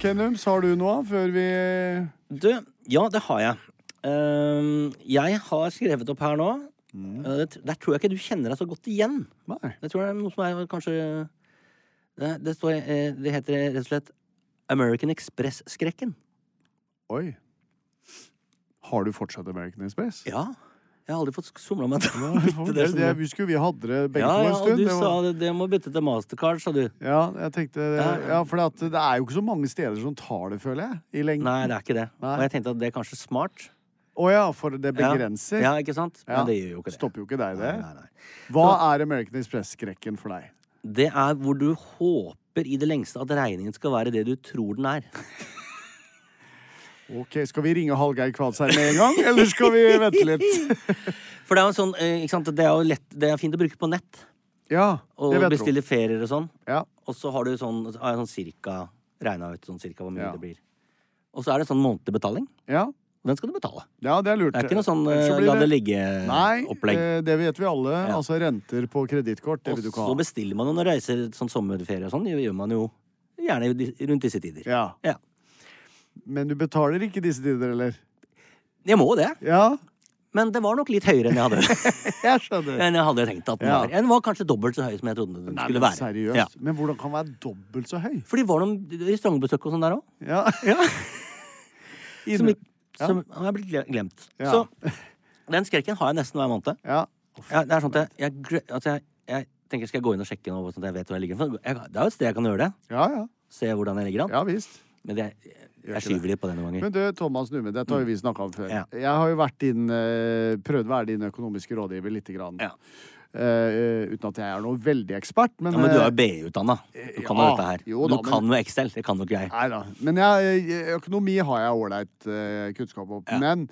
S3: Kenums, har du noe før vi
S4: Du, ja, det har jeg. Ehm, jeg har skrevet opp her nå.
S3: Mm.
S4: Eh, det tr- Der tror jeg ikke du kjenner deg så godt igjen.
S3: Nei.
S4: Jeg tror det er noe som er kanskje Det, det, står, eh, det heter rett og slett American Express-skrekken.
S3: Oi. Har du fortsatt American Express?
S4: Ja. Jeg har aldri fått somla meg til å
S3: Det,
S4: bytte
S3: det,
S4: det. skjønner
S3: jeg
S4: du.
S3: husker vi hadde det begge
S4: ja,
S3: to
S4: ja,
S3: en
S4: og
S3: stund.
S4: du
S3: det var-
S4: sa det, det må bytte til Mastercard, sa du.
S3: Ja, jeg tenkte
S4: Ja.
S3: Ja, for at det er jo ikke så mange steder som tar det, føler jeg. I lengden.
S4: Nei, det er ikke det.
S3: Nei.
S4: Og jeg tenkte at det er kanskje smart.
S3: Å ja, for det
S4: Ja.
S3: begrenser.
S4: Ja, ikke sant?
S3: Ja.
S4: Men det gjør jo ikke det.
S3: Stopper jo ikke deg, det.
S4: Nei, nei, nei.
S3: Hva er American Express-skrekken for deg?
S4: Det er hvor du håper i det lengste at regningen skal være det du tror den er.
S3: Ok, Skal vi ringe Hallgeir Kvadsheim med en gang, eller skal vi vente litt?
S4: For det er jo sånn, eh, ikke sant, det er jo lett, det er fint å bruke på nett.
S3: Ja,
S4: Og
S3: det vet du.
S4: bestille ferier og sånn.
S3: Ja.
S4: Og så har du sånn, har jeg sånn cirka regna ut sånn cirka hvor mye
S3: Ja.
S4: det blir. Og så er det sånn månedlig betaling.
S3: Ja.
S4: Og Den skal du betale.
S3: ja, det er lurt.
S4: Det er ikke noe sånn
S3: Ellers så
S4: eh,
S3: blir
S4: la det
S3: Nei,
S4: ligge-opplegg.
S3: eh, det vet vi alle.
S4: Ja.
S3: Altså renter på kredittkort, det
S4: Og
S3: vil du ikke ha.
S4: så bestiller man jo når reiser sånn sommerferie og sånn. Det gjør man jo gjerne i dis- rundt disse tider.
S3: Ja.
S4: Ja.
S3: Men du betaler ikke disse tider, eller?
S4: Jeg må det.
S3: Ja,
S4: Men det var nok litt høyere enn jeg hadde
S3: jeg skjønner.
S4: Enn jeg hadde tenkt at den
S3: Ja.
S4: var. Den var kanskje dobbelt så høy som jeg trodde den
S3: Nei,
S4: skulle
S3: men
S4: være.
S3: Seriøst.
S4: Ja.
S3: Men hvordan kan den være dobbelt så høy?
S4: Fordi var det noen restaurantbesøk og sånn der òg?
S3: Ja.
S4: Som,
S3: Inne-
S4: ikk- som han er blitt gle- glemt.
S3: Ja.
S4: Så den skrekken har jeg nesten hver måned.
S3: ja.
S4: Jeg, det er sånn at jeg, jeg, gle- altså jeg, jeg tenker skal jeg gå inn og sjekke nå, sånn at jeg vet hvor jeg ligger. For jeg, det er jo et sted jeg kan gjøre det.
S3: Ja, ja.
S4: Se hvordan jeg ligger an.
S3: Ja visst.
S4: Men det, jeg, jeg skyver litt på det noen ganger.
S3: Men du, Thomas Numme, dette har jo vi snakka om før.
S4: Mm. Ja.
S3: Jeg har jo vært din, eh, prøvd å være din økonomiske rådgiver lite grann.
S4: Ja.
S3: Eh, eh, uten at jeg er noe veldig ekspert, men,
S4: ja, men du er
S3: eh,
S4: jo BI-utdanna. Du kan jo
S3: ja,
S4: dette her.
S3: jo
S4: du
S3: da, men-
S4: kan jo Excel. Det kan jo ikke jeg.
S3: Nei da. Men jeg, eh, økonomi har jeg ålreit eh, kunnskap om. Men,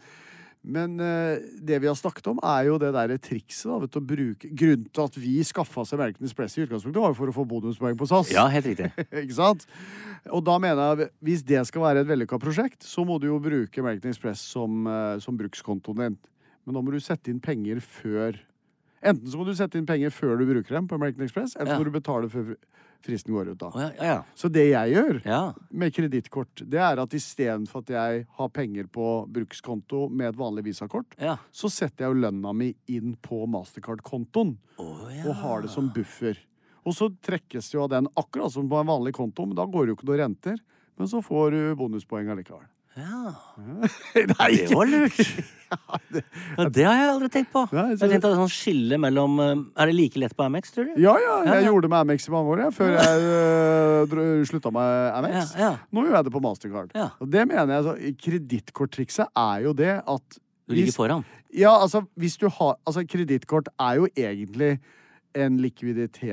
S3: men eh, det vi har snakket om, er jo det derre trikset. Da, vet du, å bruke, grunnen til at vi skaffa oss American Express i utgangspunktet, var jo for å få bonuspoeng på SAS.
S4: Ja, helt riktig.
S3: Ikke sant? Og da mener jeg, hvis det skal være et vellykka prosjekt, så må du jo bruke American Express som, eh, som brukskontoen din. Men da må du sette inn penger før Enten så må du sette inn penger før du bruker dem på American Express, eller
S4: Ja.
S3: så må du betale før fristen går ut.
S4: Å,
S3: da.
S4: ja, ja, ja.
S3: Så det jeg gjør
S4: ja.
S3: med kredittkort, det er at istedenfor at jeg har penger på brukskonto med et vanlig visakort,
S4: Ja.
S3: så setter jeg jo lønna mi inn på Mastercard-kontoen og har det som buffer. Og så trekkes jo av den akkurat som på en vanlig konto, men da går det jo ikke noen renter. Men så får du bonuspoeng allikevel.
S4: Nei, det var lurt! Ja, det har jeg aldri tenkt på.
S3: Nei, så-
S4: Jeg tenkte at det er sånn skille mellom eh, Er det like lett på Amex, tror du?
S3: Ja, ja, jeg
S4: ja.
S3: gjorde det med Amex i mange år, jeg, før jeg øh, dro- slutta med Amex.
S4: Ja, ja.
S3: Nå gjør jeg det på Mastercard.
S4: Ja.
S3: Og det mener jeg, så Kredittkorttrikset er jo det at
S4: Du ligger foran.
S3: Ja, altså, hvis du har Altså, kredittkort er jo egentlig en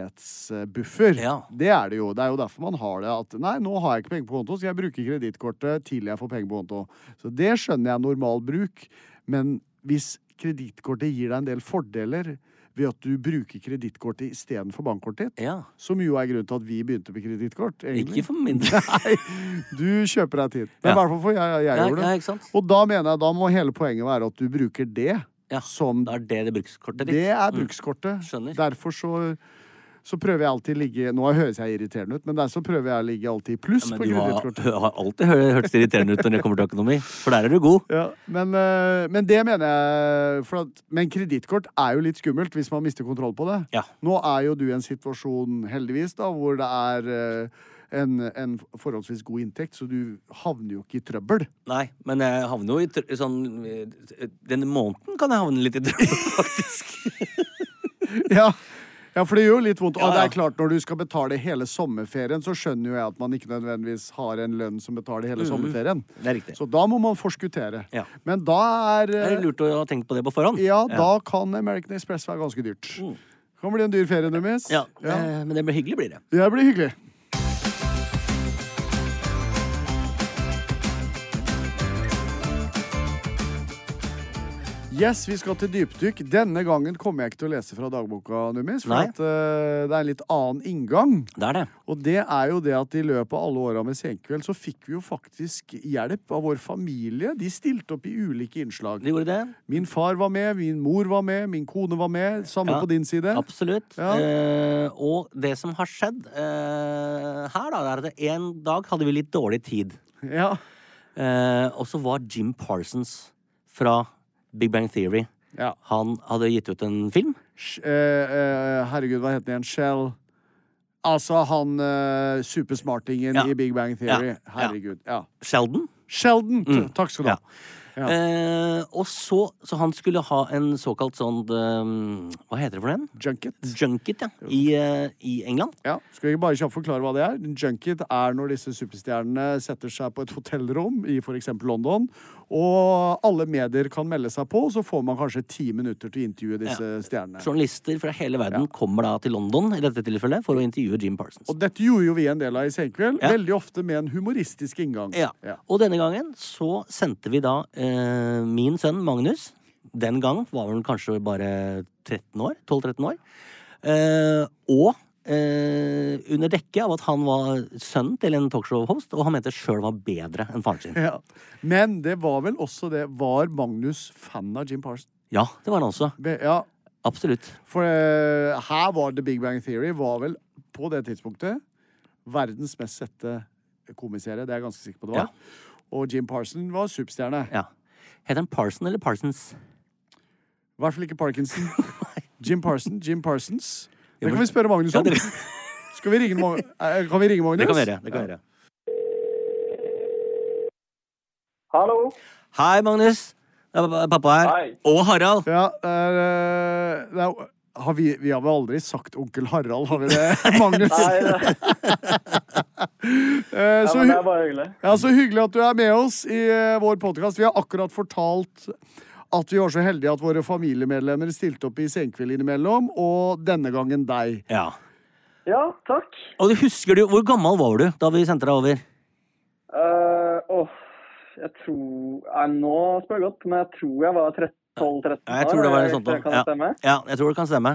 S3: likviditetsbuffer.
S4: Ja.
S3: Det er det jo. Det er jo derfor man har det. At nei, nå har jeg ikke penger på konto, så jeg bruker kredittkortet til jeg får penger på konto. Så det skjønner jeg er normal bruk. Men hvis kredittkortet gir deg en del fordeler ved at du bruker kredittkortet istedenfor bankkortet ditt,
S4: Ja.
S3: som jo er grunnen til at vi begynte med kredittkort, egentlig.
S4: Ikke for min del.
S3: Nei, du kjøper deg tid. Men i
S4: Ja.
S3: hvert fall for jeg, jeg,
S4: Ja,
S3: gjorde det.
S4: ja, ikke sant?
S3: Og da mener jeg, da må hele poenget være at du bruker det
S4: Ja,
S3: som
S4: Da er det det brukskortet ditt.
S3: Det er brukskortet.
S4: Skjønner.
S3: Derfor så, så prøver jeg alltid å ligge Nå høres jeg irriterende ut, men der så prøver jeg å ligge alltid i pluss
S4: Men
S3: på
S4: du har,
S3: kredittkortet.
S4: har alltid hø- hørtes irriterende ut når det kommer til økonomi, for der er du god.
S3: Ja, men, eh, men det mener jeg for at, Men kredittkort er jo litt skummelt hvis man mister kontroll på det.
S4: Ja.
S3: Nå er jo du i en situasjon, heldigvis, da, hvor det er eh, en, en forholdsvis god inntekt, så du havner jo ikke i trøbbel.
S4: Nei, men jeg havner jo i tr sånn eh, Denne måneden kan jeg havne litt i trøbbel, faktisk.
S3: Ja. ja, for det gjør jo litt vondt.
S4: Ja,
S3: Og det
S4: ja.
S3: er klart, når du skal betale hele sommerferien, så skjønner jo jeg at man ikke nødvendigvis har en lønn som betaler hele sommerferien.
S4: Mm. Det er riktig.
S3: Så da må man forskuttere.
S4: Ja.
S3: Men da er,
S4: Det er
S3: eh,
S4: lurt å ha tenkt på det på forhånd.
S3: Ja, da kan American Express være ganske dyrt. Kan bli en dyr ferie, Nummis.
S4: Mm. Ja, eh, Men det blir hyggelig, blir det.
S3: Det blir hyggelig. Yes, vi skal til dypdykk. Denne gangen kommer jeg ikke til å lese fra dagboka, Numis, for
S4: Nei.
S3: at, eh, det er en litt annen inngang.
S4: Det er det.
S3: Og det er jo det at i løpet av alle åra med Senkveld så fikk vi jo faktisk hjelp av vår familie. De stilte opp i ulike innslag.
S4: De gjorde det.
S3: Min far var med, min mor var med, min kone var med. Samme
S4: Ja,
S3: på din side.
S4: Absolutt.
S3: Ja.
S4: Eh, og det som har skjedd eh, her, da, er at en dag hadde vi litt dårlig tid.
S3: Ja.
S4: Eh, og så var Jim Parsons fra Big Bang Theory
S3: ja.
S4: Han hadde gitt ut en film.
S3: Sh- eh, eh, herregud, hva het den igjen? Shell. Altså han eh, supersmartingen
S4: Ja.
S3: i Big Bang Theory.
S4: Ja.
S3: Herregud. Ja.
S4: Sheldon.
S3: Sheldon! T- Takk skal du ha. Ja.
S4: Eh, og så Så han skulle ha en såkalt sånn eh, Hva heter det for den?
S3: Junket.
S4: Junket, ja. I, eh, i England.
S3: Ja. Skal vi bare kjapt forklare hva det er? En Junket er når disse superstjernene setter seg på et hotellrom i f.eks. London, og alle medier kan melde seg på, og så får man kanskje ti minutter til å intervjue disse stjernene.
S4: Journalister fra hele verden kommer da til London i dette tilfellet for å intervjue Jim Parsons.
S3: Og dette gjorde jo vi en del av i Senkveld,
S4: Ja.
S3: veldig ofte med en humoristisk inngang.
S4: Ja.
S3: Ja.
S4: Og denne gangen så sendte vi da eh, min sønn Magnus Den gang var han kanskje bare 13 år. 12-13 år. Eh, og eh, under dekke av at han var sønnen til en talkshow-host, og han mente sjøl var bedre enn faren sin.
S3: Ja. Men det var vel også det Var Magnus fan av Jim Parsons?
S4: Ja, det var han også.
S3: Be- Ja,
S4: Absolutt.
S3: for eh, her var The Big Bang Theory var vel på det tidspunktet verdens mest sette komiserie. Det er jeg ganske sikker på det var. Og Jim Parson var superstjerne.
S4: Ja. Heter han Parson eller Parsons?
S3: I hvert fall ikke Parkinson. Jim Parson, Jim Parsons. Det kan vi spørre Magnus om. Skal vi ringe Mag eh, kan vi ringe Magnus?
S4: Det kan være. Det kan være.
S9: Hallo.
S4: Hei, Magnus. Det er pappa her.
S9: Hei.
S4: Og Harald.
S3: Ja, det er, eh, det er, har vi, vi har vel aldri sagt onkel Harald, har vi det, Magnus?
S9: Nei, det,
S3: Eh,
S9: ja,
S3: så
S9: men det
S3: hu-
S9: er bare hyggelig.
S3: Ja, Så hyggelig at du er med oss i eh, vår podkast. Vi har akkurat fortalt at vi var så heldige at våre familiemedlemmer stilte opp i Senkveld innimellom, og denne gangen deg.
S4: Ja.
S9: Ja, takk.
S4: Og du husker du, Hvor gammel var du da vi sendte deg over?
S9: Eh, åh, jeg tror Nei, Nå spør jeg godt, men jeg tror jeg var 13 12-13 år.
S4: Ja, jeg tror det var
S9: hvis
S4: sånn
S9: det kan stemme.
S4: Ja, ja, jeg tror det kan stemme.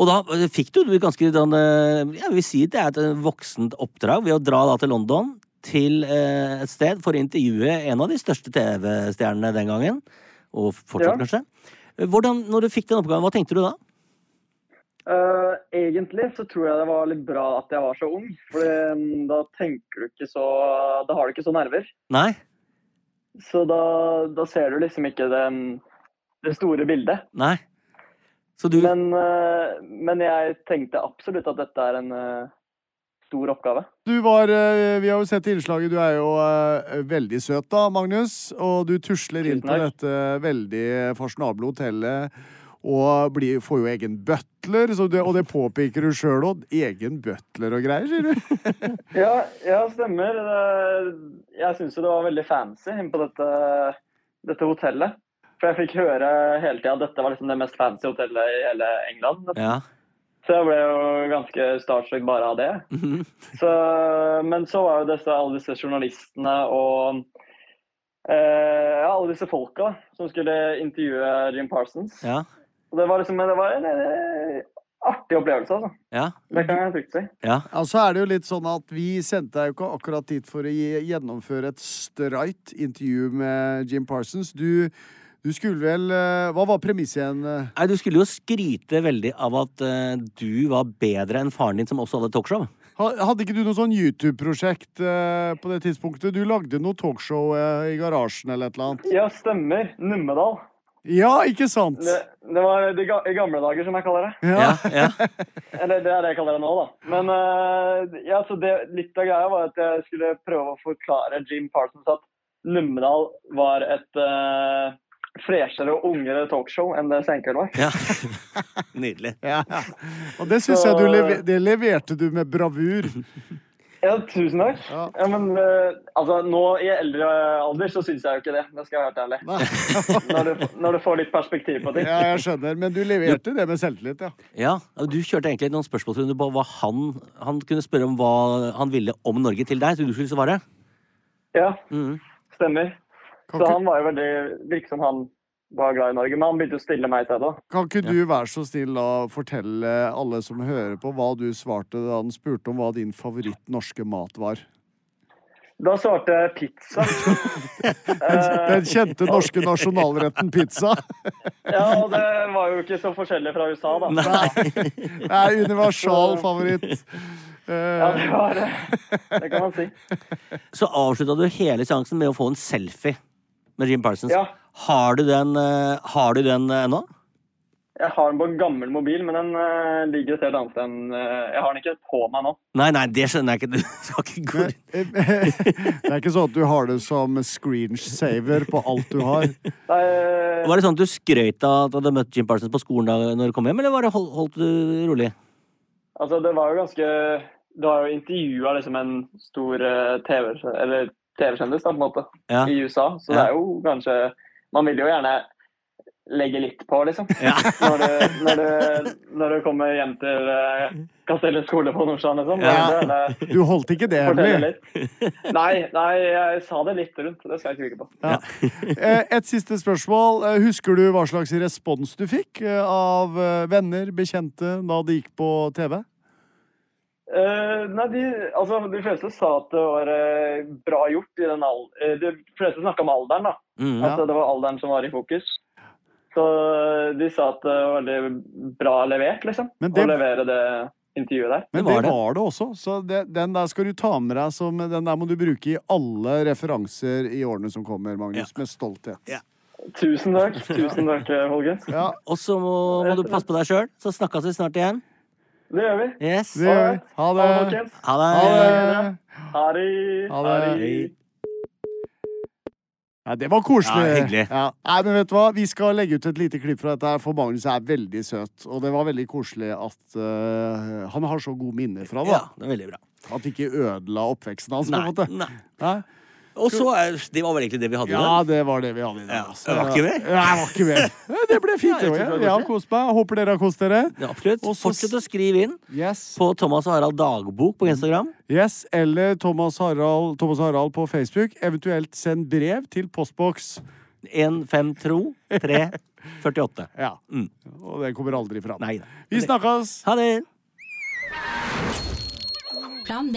S4: Og da eh, fikk du et ganske sånn, eh, jeg vil si det er et eh, voksent oppdrag ved å dra da til London, til eh, et sted for å intervjue en av de største TV-stjernene den gangen. Og fortsatt,
S9: Ja.
S4: kanskje. Eh, Hvordan, når du fikk den oppgaven, hva tenkte du da?
S9: Eh, egentlig så tror jeg det var litt bra at jeg var så ung. For eh, da tenker du ikke så Da har du ikke så nerver.
S4: Nei?
S9: Så da, da ser du liksom ikke det, det store bildet.
S4: Nei? Så du
S9: Men, eh, men jeg tenkte absolutt at dette er en eh, stor oppgave.
S3: Du var, eh, Vi har jo sett innslaget. Du er jo eh, veldig søt, da, Magnus. Og du tusler inn
S9: Tusen
S3: på
S9: takk.
S3: dette veldig fasjonable hotellet. Og blir, får jo egen butler, så det, og det påpeker du sjøl òg. Egen butler og greier, sier du.
S9: Ja, ja stemmer. Det- Jeg syns jo det var veldig fancy inne på dette, dette hotellet. For jeg fikk høre hele tida at dette var liksom det mest fancy hotellet i hele England.
S4: Ja.
S9: Så jeg ble jo ganske starstruck bare av det.
S4: Mhm.
S9: Så, men så var jo disse, alle disse journalistene og eh, ja, alle disse folka da, som skulle intervjue Jim Parsons.
S4: Ja.
S9: Og det var liksom det var en eh, artig opplevelse, altså.
S4: Ja.
S9: Det kan jeg trygt si.
S4: ja.
S3: Ja, så er det jo litt sånn at Vi sendte deg jo ikke akkurat dit for å gi- gjennomføre et streit intervju med Jim Parsons. Du, du skulle vel eh, Hva var premisset igjen? eh?
S4: Nei, du skulle jo skryte veldig av at eh, du var bedre enn faren din, som også hadde talkshow.
S3: Ha- Hadde ikke du noe sånn YouTube-prosjekt eh, på det tidspunktet? Du lagde noe talkshow eh, i garasjen eller et eller annet.
S9: Ja, stemmer. Nummedal.
S3: Ja, ikke sant?
S9: Det, det var de ga- i gamle dager, som jeg kaller det.
S4: Ja, ja.
S9: Eller det er det jeg kaller det nå, da. Men eh, ja, så det, litt av greia var at jeg skulle prøve å forklare Jim Parsons at Numedal var et uh, freshere og ungere talkshow enn det Senkveld var.
S4: ja. Nydelig.
S3: Ja. Og det syns jeg du leve- det leverte du med bravur.
S9: Ja, tusen takk. Ja.
S3: Ja.
S9: men eh, altså, nå i eldre alder så syns jeg jo ikke det. Det skal jeg være helt ærlig. Når du, når du får litt perspektiv på ting.
S3: Ja, jeg skjønner. Men du leverte det med selvtillit, ja.
S4: Ja, Du kjørte egentlig noen spørsmålsrunder på hva han Han kunne spørre om hva han ville om Norge til deg, så du skulle svare.
S9: Ja, stemmer.
S3: Kan
S9: Så
S3: ikke-
S9: han var jo veldig Virket som han var glad i Norge. Men han begynte å stille meg i stedet.
S3: Kan ikke du være så snill da fortelle alle som hører på, hva du svarte da han spurte om hva din favoritt norske mat var?
S9: Da svarte jeg pizza.
S3: Den kjente norske nasjonalretten pizza.
S9: Ja, og det var jo ikke så forskjellig fra USA, da.
S3: Det er universal favoritt.
S9: Ja, det var det. Det kan man si.
S4: Så avslutta du hele seansen med å få en selfie med Jim Parsons.
S9: Ja.
S4: Har du den, eh, har du den eh, ennå?
S9: Jeg har den på en gammel mobil, men den eh, ligger et helt annet sted enn eh, Jeg har den ikke på meg nå.
S4: Nei, nei, det skjønner jeg ikke. Du skal ikke gå rundt.
S3: Det er ikke sånn at du har det som screensaver på alt du har.
S9: Det
S3: Eh,
S9: er,
S4: Var det sånn at du skrøt av at du hadde møtt Jim Parsons på skolen da når du kom hjem, eller var det hold, holdt du rolig?
S9: Altså, det var jo ganske Du har jo intervjua liksom en stor eh, TV eller TV-kjendis, da, på en måte,
S4: Ja.
S9: i USA. Så det
S4: Ja.
S9: er jo kanskje Man vil jo gjerne legge litt på, liksom. Når, du, når, du, når du kommer hjem til eh, Castellet skole på Nordstrand, liksom.
S3: Ja.
S9: Da vil du gjerne
S3: Du holdt ikke det
S9: fortelle
S3: hemmelig.
S9: litt. Nei, nei, jeg sa det litt rundt. Det skal jeg ikke bygge på.
S3: Ja. Eh, Et siste spørsmål. Eh, Husker du hva slags respons du fikk eh, av eh, venner, bekjente, da det gikk på TV?
S9: Eh, nei, de, altså, de fleste sa at det var eh, bra gjort i den al- eh, De fleste snakka om alderen, da.
S4: Mm,
S9: Altså, det var alderen som var i fokus. Så eh, de sa at det var veldig bra levert, liksom.
S3: Men det-
S9: Å levere det intervjuet der.
S3: Men
S4: Det
S3: det
S4: var
S3: var det,
S4: det.
S3: også, så det, den der skal du ta med deg som Den der må du bruke i alle referanser i årene som kommer, Magnus, med stolthet. Ja.
S9: Tusen takk, tusen takk, eh, folkens.
S4: Og så må, må du passe på deg sjøl, så snakkes vi snart igjen.
S9: Det gjør vi.
S4: Yes.
S3: Det gjør vi. Ha det.
S9: folkens.
S4: Ha det.
S3: Ha det.
S9: Ha det.
S3: Ha
S9: Ha
S3: det.
S9: det.
S3: Ja, det var koselig.
S4: Ja, hyggelig.
S3: Ja. Nei, men vet du hva? Vi skal legge ut et lite klipp fra dette, her, for Magnus er veldig søt. Og det var veldig koselig at eh, han har så gode minner fra det.
S4: Ja,
S3: da.
S4: det er veldig bra.
S3: At det ikke ødela oppveksten hans.
S4: Nei,
S3: på en måte.
S4: nei.
S3: Nei.
S4: Og så er- Det var vel egentlig det vi hadde. i
S3: Ja,
S4: dag.
S3: det var det vi hadde i dag.
S4: Ja,
S3: altså.
S4: det var ikke mer.
S3: Nei, det var ikke mer. Nei, Det ble fint. det
S4: jeg
S3: også.
S4: synes det var
S3: Jeg Jeg har kost meg. Håper dere har kost dere.
S4: Ja, Absolutt.
S3: Og så-
S4: Fortsett å skrive inn
S3: Yes.
S4: på Thomas og Harald dagbok på Instagram.
S3: Yes, eller Thomas Harald, Thomas Harald på Facebook. Eventuelt send brev til postboks.
S4: 15348.
S3: Ja. Og det kommer aldri fram.
S4: Mm. Nei da.
S3: Vi snakkes!
S4: Ha det!
S7: Plan B.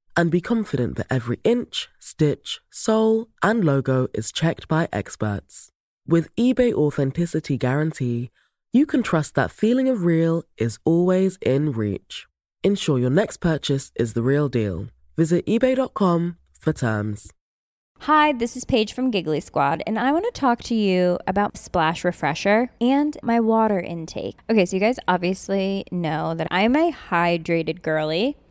S10: and be confident that every inch, stitch, sole, and logo is checked by experts. With eBay Authenticity Guarantee, you can trust that feeling of real is always in reach. Ensure your next purchase is the real deal. Visit eBay.com for terms.
S11: Hi, this is Paige from Giggly Squad, and I want to talk to you about Splash Refresher and my water intake. Okay, so you guys obviously know that I'm a hydrated girly,